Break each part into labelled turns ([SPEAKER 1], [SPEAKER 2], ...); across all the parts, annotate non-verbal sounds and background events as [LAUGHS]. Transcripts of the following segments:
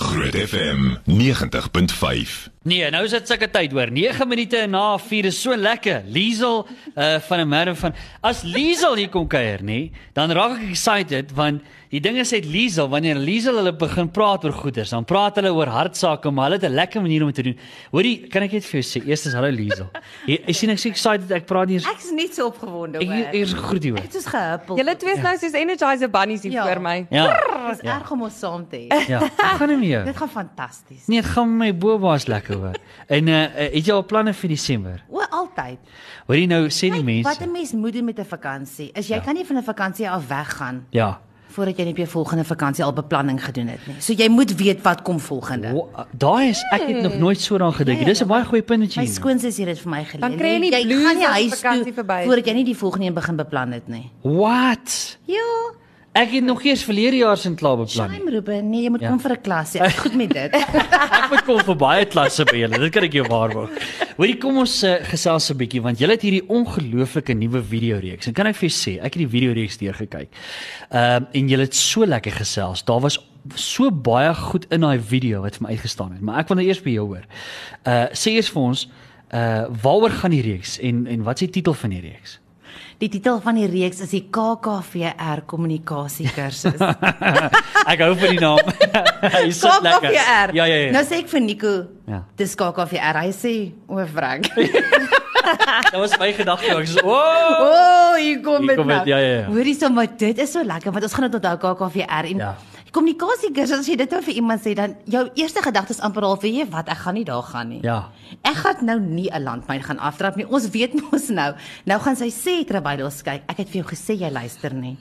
[SPEAKER 1] Groot FM 90.5.
[SPEAKER 2] Nee, nou is dit sulke tyd hoor. 9 minute na 4 is so lekker. Liesel uh van 'n merwe van as Liesel hier kom kuier, nê, dan raak ek excited want die ding is het Liesel, wanneer Liesel hulle begin praat oor goeders, dan praat hulle oor hartsake, maar hulle het 'n lekker manier om dit te doen. Hoorie, kan ek net vir jou sê, eers is hallo Liesel. Jy jy sien ek is excited, ek praat nie eers
[SPEAKER 3] Ek's net so opgewonde
[SPEAKER 2] ek
[SPEAKER 3] hoor.
[SPEAKER 2] eers groet jou.
[SPEAKER 3] Dit is gehuppel.
[SPEAKER 4] Julle twee is nou soos energizer bunnies hier
[SPEAKER 3] Ja.
[SPEAKER 4] voor my.
[SPEAKER 2] Ja.
[SPEAKER 3] is
[SPEAKER 2] Ja.
[SPEAKER 3] erg om ons saam te hê.
[SPEAKER 2] Ja, ek gaan nie meer.
[SPEAKER 3] [LAUGHS] Dit gaan fantasties.
[SPEAKER 2] Nee, dit gaan met my bobaas lekker hoor. En uh uh, het jy al planne vir Desember?
[SPEAKER 3] O, altyd.
[SPEAKER 2] Hoorie nou sê die
[SPEAKER 3] Kyk, Wat
[SPEAKER 2] mense.
[SPEAKER 3] 'n mens moet doen met 'n vakansie. Is jy
[SPEAKER 2] Ja.
[SPEAKER 3] kan nie van 'n vakansie af weggaan
[SPEAKER 2] Ja.
[SPEAKER 3] voordat jy net op jou volgende vakansie al beplanning gedoen het nie. So jy moet weet wat kom volgende.
[SPEAKER 2] Wa- Daai is ek het nog nooit so daaraan gedink. nie. Dis 'n baie goeie punt wat jy
[SPEAKER 3] My
[SPEAKER 2] noem.
[SPEAKER 3] skoonsis het dit vir my geleer.
[SPEAKER 4] Dan kry jy nie blues
[SPEAKER 3] gaan nie
[SPEAKER 4] as die
[SPEAKER 3] huis toe
[SPEAKER 4] vakansie verby is
[SPEAKER 3] voordat jy nie die volgende een begin beplan het nie.
[SPEAKER 2] What?
[SPEAKER 3] Ja,
[SPEAKER 2] Ek het nog eers verlede jaar sin klaar beplan. nie.
[SPEAKER 3] shame Ruben, nee, jy moet
[SPEAKER 2] Ja.
[SPEAKER 3] ja. kom vir 'n klas. Ek is goed met dit.
[SPEAKER 2] [LAUGHS] Ek moet kom vir baie klasse by julle. Dit kan ek jou waarborg. Hoorie, kom ons uh, gesels 'n bietjie want julle het hierdie ongelooflike nuwe video reeks. En kan ek vir jou sê, ek het die video reeks deurgekyk. Ehm um, en julle het so lekker gesels. Daar was so baie goed in daai video wat vir my uitgestaan het. Maar ek wil nou eers by jou hoor. Uh sê eers vir ons, uh waaroor gaan die reeks en en wat is die titel van die reeks?
[SPEAKER 3] Die titel van die reeks is die KKVR kommunikasie kursus.
[SPEAKER 2] Ek hou van die naam. [LAUGHS] Hy sit lekker.
[SPEAKER 3] KKVR.
[SPEAKER 2] Ja ja ja.
[SPEAKER 3] Nou sê ek vir Nico,
[SPEAKER 2] Ja.
[SPEAKER 3] dis KKVR. Hy sê, "O,
[SPEAKER 2] [LAUGHS]
[SPEAKER 3] Frank."
[SPEAKER 2] Dit was my gedagte. Ek sê, "O,
[SPEAKER 3] O, hier kom
[SPEAKER 2] Hier
[SPEAKER 3] dit
[SPEAKER 2] kom dit,
[SPEAKER 3] nou.
[SPEAKER 2] ja, ja, ja.
[SPEAKER 3] Hoorie so, maar dit is so lekker want ons gaan dit onthou KKVR en
[SPEAKER 2] Ja.
[SPEAKER 3] die kommunikasie kursus as jy dit nou vir iemand sê dan jou eerste gedagte is amper al vir jy wat ek gaan nie daar gaan nie.
[SPEAKER 2] Ja.
[SPEAKER 3] Ek gaan nou nie 'n landmyn gaan aftrap nie. Ons weet mos nou. Nou gaan sy sê Terwylos kyk, ek het vir jou gesê jy luister
[SPEAKER 2] [LAUGHS]
[SPEAKER 3] nie.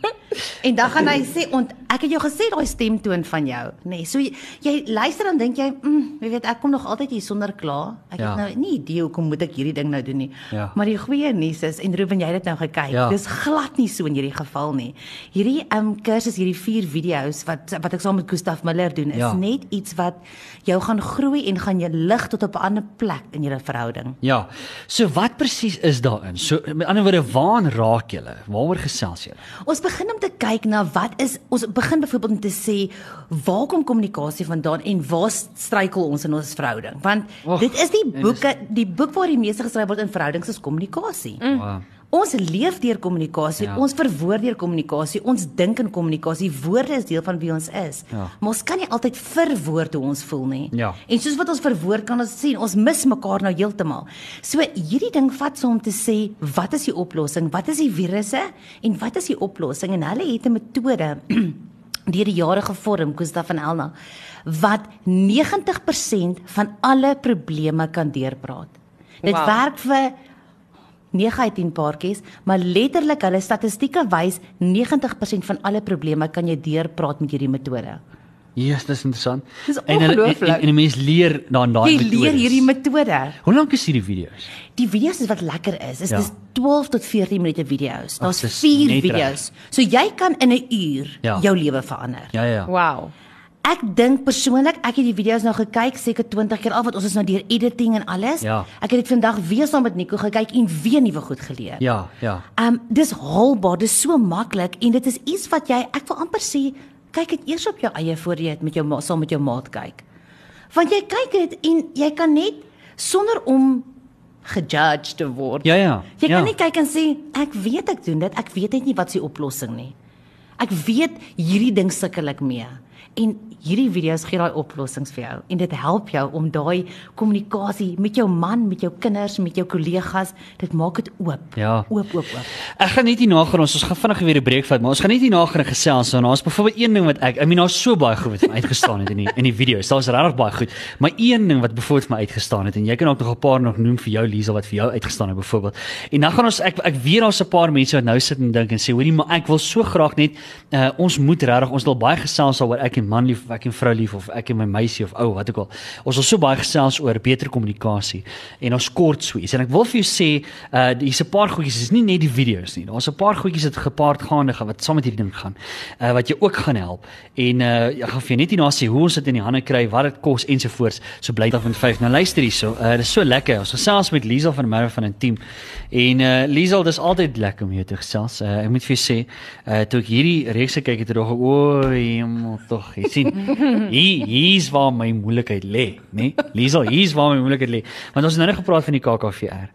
[SPEAKER 3] en dan gaan hy sê ont ek het jou gesê daai stemtoon van jou, nê. Nee, so jy, jy luister dan dink jy, mm, jy weet ek kom nog altyd hier sonder klaar. Ek
[SPEAKER 2] Ja.
[SPEAKER 3] het nou nie idee hoekom moet ek hierdie ding nou doen nie.
[SPEAKER 2] Ja.
[SPEAKER 3] Maar die goeie nuus is en Ruben jy het dit nou gekyk.
[SPEAKER 2] Ja.
[SPEAKER 3] Dis glad nie so in hierdie geval nie. Hierdie um kursus hierdie vier video's wat wat ek saam met Gustaf Miller doen is
[SPEAKER 2] Ja.
[SPEAKER 3] net net iets wat jou gaan groei en gaan jou lig tot op 'n ander plek in jou verhouding.
[SPEAKER 2] Ja. So wat presies is daarin? So met ander woorde, waar raak julle? Waaroor gesels julle?
[SPEAKER 3] Ons begin om te kyk na wat is ons begin byvoorbeeld om te sê waar kom kommunikasie vandaan en waar struikel ons in ons verhouding? Want
[SPEAKER 2] Och,
[SPEAKER 3] Och, dit is die
[SPEAKER 2] en dis-
[SPEAKER 3] boeke, die boek waar die meeste geskryf word in verhoudings is kommunikasie. Mm.
[SPEAKER 2] Wow.
[SPEAKER 3] Ons leef deur kommunikasie,
[SPEAKER 2] Ja.
[SPEAKER 3] ja. ons verwoord deur kommunikasie, ons dink in kommunikasie. Woorde is deel van wie ons is.
[SPEAKER 2] Ja.
[SPEAKER 3] Maar ons kan nie altyd verwoord hoe ons voel nie.
[SPEAKER 2] Ja.
[SPEAKER 3] En soos wat ons verwoord kan ons sien, ons mis mekaar nou heeltemal. So hierdie ding vat so om te sê, wat is die oplossing? Wat is die virusse en wat is die oplossing? En hulle het 'n metode [CLEARS THROAT] deur die jare gevorm, Gustav van Elna, wat 90% van alle probleme kan deurpraat. Dit
[SPEAKER 4] Wow.
[SPEAKER 3] wow. werk vir 9 uit 10 paartjies, maar letterlik hulle statistieke wys 90% van alle probleme kan jy deurpraat met hierdie metode.
[SPEAKER 2] Yes, dis interessant.
[SPEAKER 4] Dis
[SPEAKER 2] En hulle- en,
[SPEAKER 4] ongelooflik.
[SPEAKER 2] en, en mense leer dan daai
[SPEAKER 3] Jy
[SPEAKER 2] metodes.
[SPEAKER 3] leer hierdie metode.
[SPEAKER 2] Hoe lank is hierdie video's?
[SPEAKER 3] Die video's is wat lekker is. Is
[SPEAKER 2] Ja.
[SPEAKER 3] ja. dis 12 tot 14 minute video's. Daar's
[SPEAKER 2] dis
[SPEAKER 3] 4
[SPEAKER 2] net
[SPEAKER 3] video's. So jy kan in 'n uur
[SPEAKER 2] Ja.
[SPEAKER 3] ja. jou lewe verander.
[SPEAKER 2] Ja ja.
[SPEAKER 4] Wow.
[SPEAKER 3] Ek dink persoonlik, ek het die video's nou gekyk seker 20 keer al want ons is nou deur editing en alles.
[SPEAKER 2] Ja.
[SPEAKER 3] Ek het dit vandag weer saam met Nico gekyk en weer nuwe goed geleer.
[SPEAKER 2] Ja, ja.
[SPEAKER 3] Um dis haalbaar, dis so maklik en dit is iets wat jy ek wil amper sê, kyk dit eers op jou eie voor jy dit met jou ma- saam met jou maat kyk. Want jy kyk dit en jy kan net sonder om gejudge te word.
[SPEAKER 2] Ja ja.
[SPEAKER 3] Jy
[SPEAKER 2] ja.
[SPEAKER 3] kan nie kyk en sê ek weet ek doen dit, ek weet net nie wat se oplossing nie. Ek weet hierdie ding sukkel ek mee. En hierdie video's gee daai oplossings vir jou en dit help jou om daai kommunikasie met jou man, met jou kinders, met jou kollegas, dit maak dit oop.
[SPEAKER 2] Ja.
[SPEAKER 3] Oop, oop, oop.
[SPEAKER 2] Ek gaan net hier nagaan ons ons gaan vinnig weer 'n breek vat, maar ons gaan net hier nagaan en gesels want daar's byvoorbeeld een ding wat ek, I mean daar's so baie goed wat vir my uitgestaan het in die in die video's. Daar's regtig baie goed, maar een ding wat byvoorbeeld vir my uitgestaan het en jy kan ook nog 'n paar nog noem vir jou Liesel wat vir jou uitgestaan het byvoorbeeld. En dan gaan ons ek ek weet daar's 'n paar mense wat nou sit en dink en sê hoorie maar ek wil so graag net uh, ons moet regtig ons wil baie gesels daaroor ek en man lief of ek en vrou lief of ek en my meisie of ou wat ook al. Ons wil so baie gesels oor beter kommunikasie en ons kort so iets. En ek wil vir jou sê, uh hier's 'n paar goedjies, dis nie net die video's nie. Daar's 'n paar goedjies wat gepaardgaande gaan wat saam met hierdie ding gaan. Uh wat jou ook gaan help. En uh ek gaan vir jou net hierna sê hoe ons dit in die hande kry, wat dit kos ensovoorts. So bly dan van 5. Nou luister hierso. Uh dis so lekker. Ons gesels met Liesel van Merwe van 'n team. En uh Liesel, dis altyd lekker om jou te gesels. Uh ek moet vir jou sê, uh toe ek hierdie reeks gekyk het, het ek gedog, o, hemel tog, Jy sien, hier hier's waar my moeilikheid lê, né? Nee? Liesel, hier's waar my moeilikheid lê. Want ons het nou net gepraat van die KKVR.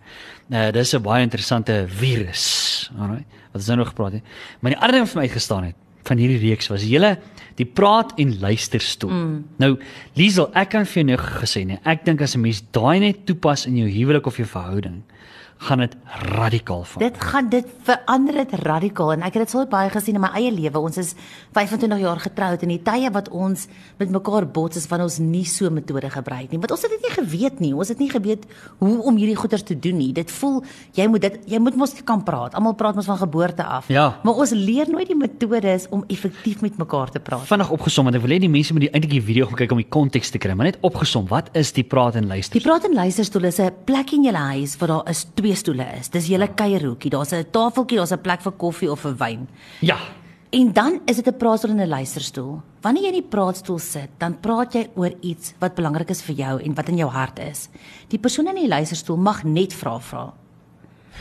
[SPEAKER 2] Nou, dis 'n baie interessante virus, alraai. Wat ons nou nog gepraat het. Maar die ander ding wat vir my uitgestaan het van hierdie reeks was die hele die praat en luisterstoel. Mm. Nou, Liesel, ek kan vir jou nou gesê nee, ek dink as 'n mens daai net toepas in jou huwelik of jou verhouding, gaan dit radikaal verander.
[SPEAKER 3] Dit gaan dit verander dit radikaal en ek het dit so baie gesien in my eie lewe. Ons is 25 jaar getroud en die tye wat ons met mekaar bots is van ons nie so metode gebruik nie. Want ons het dit nie geweet nie. Ons het nie geweet hoe om hierdie goeters te doen nie. Dit voel jy moet dit jy moet mos kan praat. Almal praat mos van geboorte af.
[SPEAKER 2] Ja.
[SPEAKER 3] Maar ons leer nooit die metodes om effektief met mekaar te praat.
[SPEAKER 2] vinnig opgesom want ek wil hê die mense moet die eintlik die video gaan kyk om die konteks te kry, maar net opgesom, wat is die praat en luister?
[SPEAKER 3] Die praat en luisterstoel is 'n plek in julle huis waar daar is twee stoele is. Dis julle kuierhoekie. Daar's 'n tafeltjie, daar's 'n plek vir koffie of vir wyn.
[SPEAKER 2] Ja.
[SPEAKER 3] En dan is dit 'n praatstoel en 'n luisterstoel. Wanneer jy in die praatstoel sit, dan praat jy oor iets wat belangrik is vir jou en wat in jou hart is. Die persoon in die luisterstoel mag net vra vra.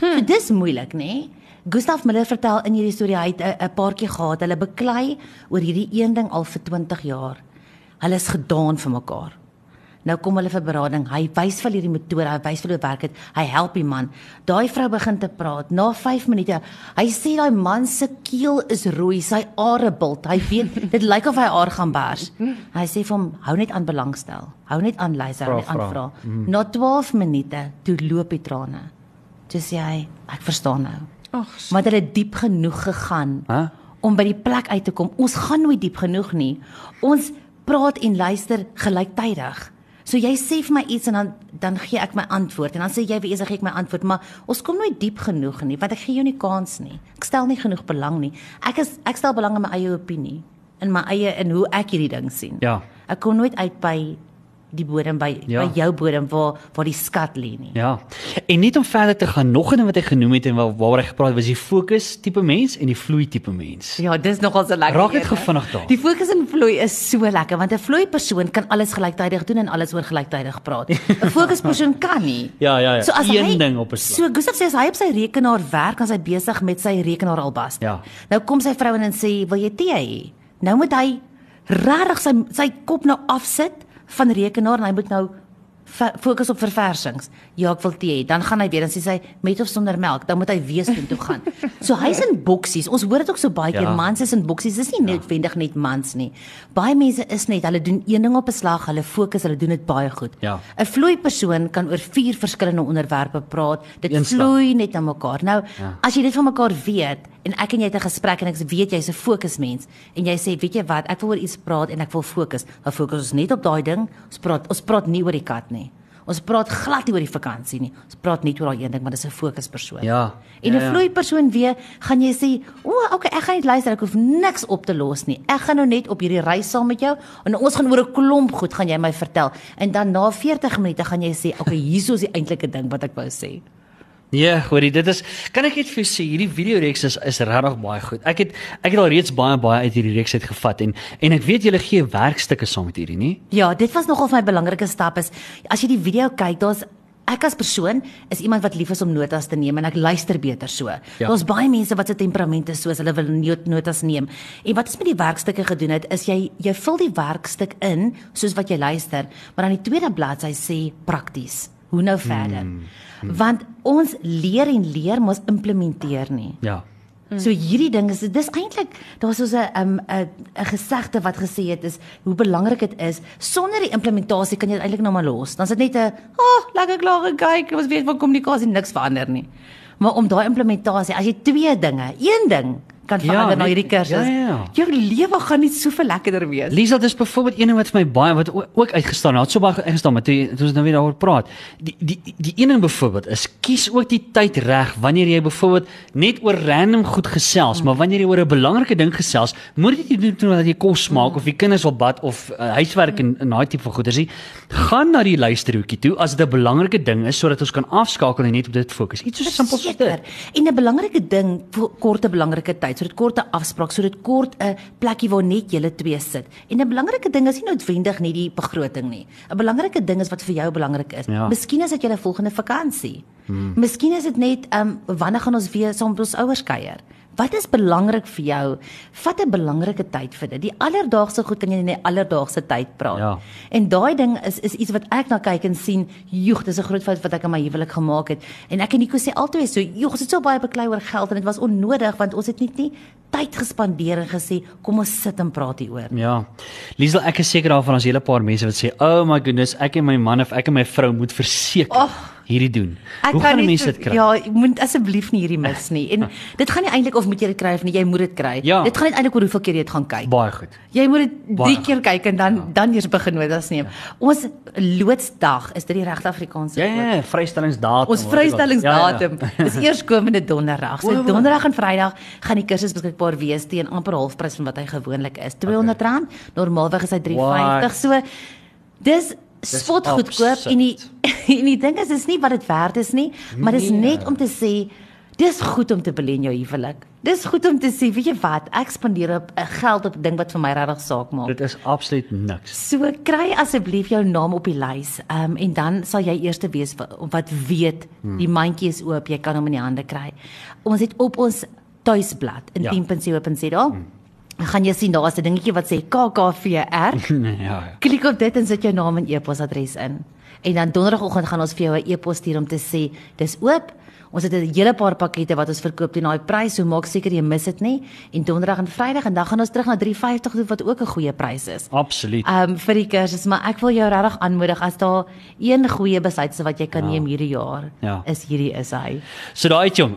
[SPEAKER 3] Hm. So dis moeilik, nê? Nee? Gustav Miller vertel in hierdie storie hy het 'n- 'n paartjie gehad. Hulle beklei oor hierdie een ding al vir 20 jaar. Hulle is gedaan vir mekaar. Nou kom hulle vir berading. Hy wys vir hierdie metode, hy wys vir hoe dit werk het. Hy help die man. Daai vrou begin te praat. Na 5 minute, hy sê daai man se keel is rooi, sy are bult. Hy
[SPEAKER 2] [LAUGHS]
[SPEAKER 3] weet dit lyk of hy haar gaan bars. Hy sê vir hom, hou net aan belangstel. Hou net aan luister, hou net
[SPEAKER 2] Vra,
[SPEAKER 3] aan
[SPEAKER 2] vra.
[SPEAKER 3] vra. Mhm. Na 12 minute, toe loop die trane. Toe sê hy, ek verstaan nou.
[SPEAKER 4] Ag,
[SPEAKER 3] Maar dit het diep genoeg gegaan
[SPEAKER 2] Hæ?
[SPEAKER 3] om by die plek uit te kom. Ons gaan nooit diep genoeg nie. Ons praat en luister gelyktydig. So jy sê vir my iets en dan dan gee ek my antwoord en dan sê jy weer eers gee ek my antwoord, maar ons kom nooit diep genoeg nie want ek gee jou nie kans nie. Ek stel nie genoeg belang nie. Ek is ek stel belang in my eie opinie, in my eie in hoe ek hierdie ding sien.
[SPEAKER 2] Ja.
[SPEAKER 3] Ek kom nooit uit by die bodem by
[SPEAKER 2] Ja.
[SPEAKER 3] by jou bodem waar waar die skat lê nie.
[SPEAKER 2] Ja. En net om verder te gaan, nog 'n ding wat hy genoem het en waar waaroor hy gepraat het, was die fokus tipe mens en die vloei tipe mens.
[SPEAKER 3] Ja, dis nogal so lekker.
[SPEAKER 2] Raak net
[SPEAKER 3] een,
[SPEAKER 2] gou
[SPEAKER 3] hè?
[SPEAKER 2] vinnig daar.
[SPEAKER 3] Die fokus in vloei is so lekker want 'n vloei persoon kan alles gelyktydig doen en alles oor gelyktydig
[SPEAKER 2] [LAUGHS]
[SPEAKER 3] praat. 'n Fokuspersoon kan nie.
[SPEAKER 2] Ja, ja, ja.
[SPEAKER 3] as
[SPEAKER 2] Een ding op 'n slag.
[SPEAKER 3] So Gustav sê as hy op sy rekenaar werk, dan is hy besig met sy rekenaar albas.
[SPEAKER 2] Ja.
[SPEAKER 3] Nou kom sy vrou in en sê, "Wil jy tee hê?" Nou moet hy regtig sy sy kop nou afsit van rekenaar en hy moet nou fa- fokus op verversings. Ja, ek wil tee hê. Dan gaan hy weer en sê sy met of sonder melk. Dan moet hy weer soontoe toe
[SPEAKER 2] [LAUGHS]
[SPEAKER 3] gaan. So hy's in boksies. Ons hoor dit ook so baie keer.
[SPEAKER 2] Ja.
[SPEAKER 3] Man mans is in boksies, dis nie noodwendig net mans nie. Baie mense is net, hulle doen een ding op 'n slag, hulle fokus, hulle doen dit baie goed. 'n
[SPEAKER 2] Ja.
[SPEAKER 3] Vloei persoon kan oor vier verskillende onderwerpe praat. Dit
[SPEAKER 2] Eensdag.
[SPEAKER 3] vloei net aan mekaar. Nou, ja. as jy dit van mekaar weet en ek en jy het 'n gesprek en ek weet jy's 'n fokusmens en jy sê, weet jy wat, ek wil oor iets praat en ek wil fokus. Dan fokus ons net op daai ding. Ons praat ons praat nie oor die kat nie. Ons praat glad nie oor die vakansie nie. Ons praat net oor daai een ding, maar dis 'n fokuspersoon.
[SPEAKER 2] Ja.
[SPEAKER 3] En 'n
[SPEAKER 2] Ja,
[SPEAKER 3] ja,
[SPEAKER 2] ja.
[SPEAKER 3] vloei persoon weer gaan jy sê, "O, oh, okay, ek gaan net luister, ek hoef niks op te los nie. Ek gaan nou net op hierdie reis saam met jou en ons gaan oor 'n klomp goed gaan jy my vertel." En dan na 40 minute gaan jy sê, "Okay, hierso is die eintlike ding wat ek wou sê."
[SPEAKER 2] Ja, hoorie, dit is kan ek net vir jou sê hierdie videoreeks is is regtig baie goed. Ek het ek het al reeds baie baie uit hierdie reeks uit gevat en en ek weet julle gee werkstukke saam met hierdie, nie?
[SPEAKER 3] Ja, dit was nogal vir my belangrike stap is as jy die video kyk, daar's ek as persoon is iemand wat lief is om notas te neem en ek luister beter so.
[SPEAKER 2] Ja.
[SPEAKER 3] Ja. Daar's baie mense wat se temperament is soos hulle wil not- notas neem. En wat ons met die werkstukke gedoen het is jy jy vul die werkstuk in soos wat jy luister, maar aan die tweede bladsy sê prakties. Hoe nou verder? Hmm. Want ons leer en leer, maar ons implementeer nie.
[SPEAKER 2] Ja.
[SPEAKER 3] So hierdie ding is dis eintlik daar's so 'n um, 'n 'n gesegde wat gesê het is hoe belangrik dit is. Sonder die implementasie kan jy dit eintlik nou maar los. Dan is dit net 'n, "Ag, oh, lekker klaar gekyk. Ons weet van kommunikasie niks verander nie." Maar om daai implementasie, as jy twee dinge, een ding kan
[SPEAKER 2] Ja,
[SPEAKER 3] verander na
[SPEAKER 2] net-
[SPEAKER 3] hierdie kursus,
[SPEAKER 2] ja, ja, ja.
[SPEAKER 3] jou lewe gaan net soveel lekkerder wees.
[SPEAKER 2] Lisa, dis byvoorbeeld een ding wat vir my baie wat o- ook uitgestaan het. Dit het so baie uitgestaan, maar toe toe ons nou weer daaroor praat. Die die die een ding byvoorbeeld is kies ook die tyd reg wanneer jy byvoorbeeld net oor random goed gesels, maar wanneer jy oor 'n belangrike ding gesels, moet dit nie doen terwyl jy kos maak of die kinders wil bad of uh, huiswerk en, en daai tipe van goeders nie. Gaan na die luisterhoekie toe as dit 'n belangrike ding is sodat ons kan afskakel en net op dit fokus. Iets so simpel soos dit.
[SPEAKER 3] Verseker. En 'n belangrike ding vir korte belangrike tyd, sodat kort 'n afspraak, sodat kort 'n plekkie waar net julle twee sit. En 'n belangrike ding is nie noodwendig net die begroting nie. 'n Belangrike ding is wat vir jou belangrik is.
[SPEAKER 2] Ja.
[SPEAKER 3] Miskien is dit julle volgende vakansie. Hmm. Miskien is dit net ehm um, wanneer gaan ons weer saam met ons ouers kuier? Wat is belangrik vir jou? Vat 'n belangrike tyd vir dit. Die alledaagse goed kan jy in die alledaagse tyd praat.
[SPEAKER 2] Ja.
[SPEAKER 3] En daai ding is is iets wat ek na kyk en sien, joeg, dis 'n groot fout wat ek in my huwelik gemaak het. En ek en Nico sê altyd so, joeg, ons het so baie beklei oor geld en dit was onnodig want ons het net nie tyd gespandeer en gesê, kom ons sit en praat hieroor.
[SPEAKER 2] Ja. Liesel, ek is seker daarvan as 'n hele paar mense wat sê, "Oh my goodness, ek en my man of ek en my vrou moet verseker
[SPEAKER 3] Oh.
[SPEAKER 2] hierdie doen."
[SPEAKER 3] Ek
[SPEAKER 2] Hoe
[SPEAKER 3] kan
[SPEAKER 2] gaan 'n
[SPEAKER 3] nie
[SPEAKER 2] mens
[SPEAKER 3] so-
[SPEAKER 2] dit kry?
[SPEAKER 3] Ja, jy moet asseblief nie hierdie mis nie.
[SPEAKER 2] [LAUGHS]
[SPEAKER 3] En dit gaan nie eintlik of moet jy dit kry of nie, jy moet dit kry.
[SPEAKER 2] Ja.
[SPEAKER 3] Dit gaan net eintlik oor hoeveel keer jy dit gaan kyk.
[SPEAKER 2] Baie goed.
[SPEAKER 3] Jy moet dit
[SPEAKER 2] Baie Ja.
[SPEAKER 3] drie keer kyk en dan dan eers begin notas neem. Ons loodsdag is dit die regte Afrikaanse
[SPEAKER 2] Ja, ja, ja, vrystellingsdatum.
[SPEAKER 3] Ons
[SPEAKER 2] hoor Ja, ek al.
[SPEAKER 3] vrystellingsdatum is eers komende donderdag. So
[SPEAKER 2] O, wat?
[SPEAKER 3] donderdag en vrydag gaan die kursus beskikbaar wees teen amper halfprys van wat hy gewoonlik is. R200. Normaalweg is hy R350. So dis spot goedkoop
[SPEAKER 2] absurd.
[SPEAKER 3] en die [LAUGHS] en die ding is dis nie wat dit werd is nie, maar dis
[SPEAKER 2] Nee.
[SPEAKER 3] net om te sê dis goed om te belê in jou huwelik. Dis goed om te sê, weet jy wat, ek spandeer op 'n geld op 'n ding wat vir my regtig saak maak.
[SPEAKER 2] Dit is absoluut niks. [LAUGHS]
[SPEAKER 3] So kry asseblief jou naam op die lys. Ehm um, en dan sal jy eerste wees wa- wat weet die mandjie is oop, jy kan hom in die hande kry. Ons het op ons tuisblad in
[SPEAKER 2] Ja.
[SPEAKER 3] ja. team.co.za Dan gaan jy sien daar is 'n dingetjie wat sê KKVR.
[SPEAKER 2] Nee, ja, ja.
[SPEAKER 3] Klik op dit en sit jou naam en e-posadres in. En dan donderdagoggend gaan ons vir jou 'n e-pos stuur om te sê dis oop. Ons het 'n hele paar pakkette wat ons verkoop teen daai prys, so maak seker jy mis dit nie. En donderdag en Vrydag en dan gaan ons terug na 3.50 toe wat ook 'n goeie prys is
[SPEAKER 2] Absoluut.
[SPEAKER 3] um vir die kursus, maar ek wil jou regtig aanmoedig as daar een goeie besluit is wat jy kan
[SPEAKER 2] Ja.
[SPEAKER 3] neem hierdie jaar,
[SPEAKER 2] Ja.
[SPEAKER 3] is hierdie is hy.
[SPEAKER 2] So daai het jy hom.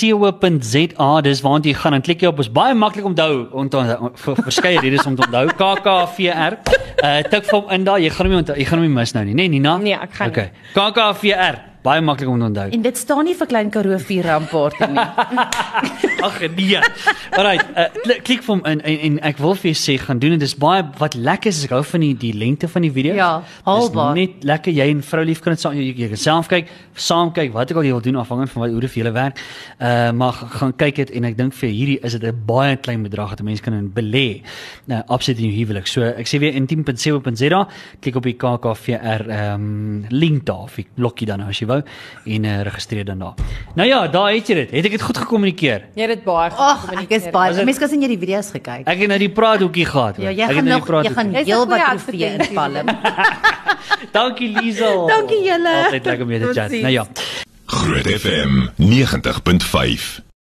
[SPEAKER 2] intiem.co.za, dis waartoe jy gaan en klik jy op. Is baie maklik onthou. Onthou vir verskeie redes om te
[SPEAKER 4] [LAUGHS]
[SPEAKER 2] onthou. KKVR. Uh tik vir hom in daar. Jy gaan hom nie onthou, jy gaan hom nie mis nou nie, né nee, Nina?
[SPEAKER 4] Nee, ek gaan nie.
[SPEAKER 2] Okay. KKVR. Baie maklik om te onthou.
[SPEAKER 3] En dit staan nie vir klein Karoo 4 rampoort nie.
[SPEAKER 2] [LAUGHS] Ag nee. Alrite, uh, klik- klik vir hom in en, en ek wil vir jou sê gaan doen dit is baie wat lekker is is ek hou van die die lengte van die video's.
[SPEAKER 3] Ja,
[SPEAKER 2] Dis
[SPEAKER 3] haalbaar.
[SPEAKER 2] Net lekker jy en vrou lief kan dit saam jy, jy kan self kyk, saam kyk wat ek al jy wil doen afhangend van wat hoe dit vir julle werk. Uh maar g- gaan kyk dit en ek dink vir hierdie is dit 'n baie klein bedrag wat 'n mens kan in belê. Nou absoluut in jou huwelik. So ek sê weer intiem.co.za, klik op die KKVR ehm um, link daar of die blokkie dan nou as jy wou en uh, registreer dan daar. Nou ja, daar het jy dit. Het ek dit goed gekommunikeer?
[SPEAKER 4] Jy het dit baie goed
[SPEAKER 3] Ag, ek is
[SPEAKER 4] gecommuniceer.
[SPEAKER 3] baie.
[SPEAKER 2] Was dit-
[SPEAKER 3] Mense kan sien jy die video's gekyk.
[SPEAKER 2] Ek het nou die praathoekie gehad. hoor.
[SPEAKER 3] Ja, jy
[SPEAKER 2] Ek het
[SPEAKER 3] gaan
[SPEAKER 2] nou die
[SPEAKER 3] nog jy
[SPEAKER 2] praathoekie
[SPEAKER 3] gaan
[SPEAKER 4] Dis 'n
[SPEAKER 3] heelwat
[SPEAKER 4] goeie
[SPEAKER 3] trofee
[SPEAKER 4] advertensie.
[SPEAKER 3] inpalm.
[SPEAKER 2] gehad. Dankie Liesel.
[SPEAKER 3] Dankie julle.
[SPEAKER 2] Nou ja. Altyd lekker om jou te chat.
[SPEAKER 3] Totsiens.
[SPEAKER 2] Nou ja.
[SPEAKER 1] Groot FM 90.5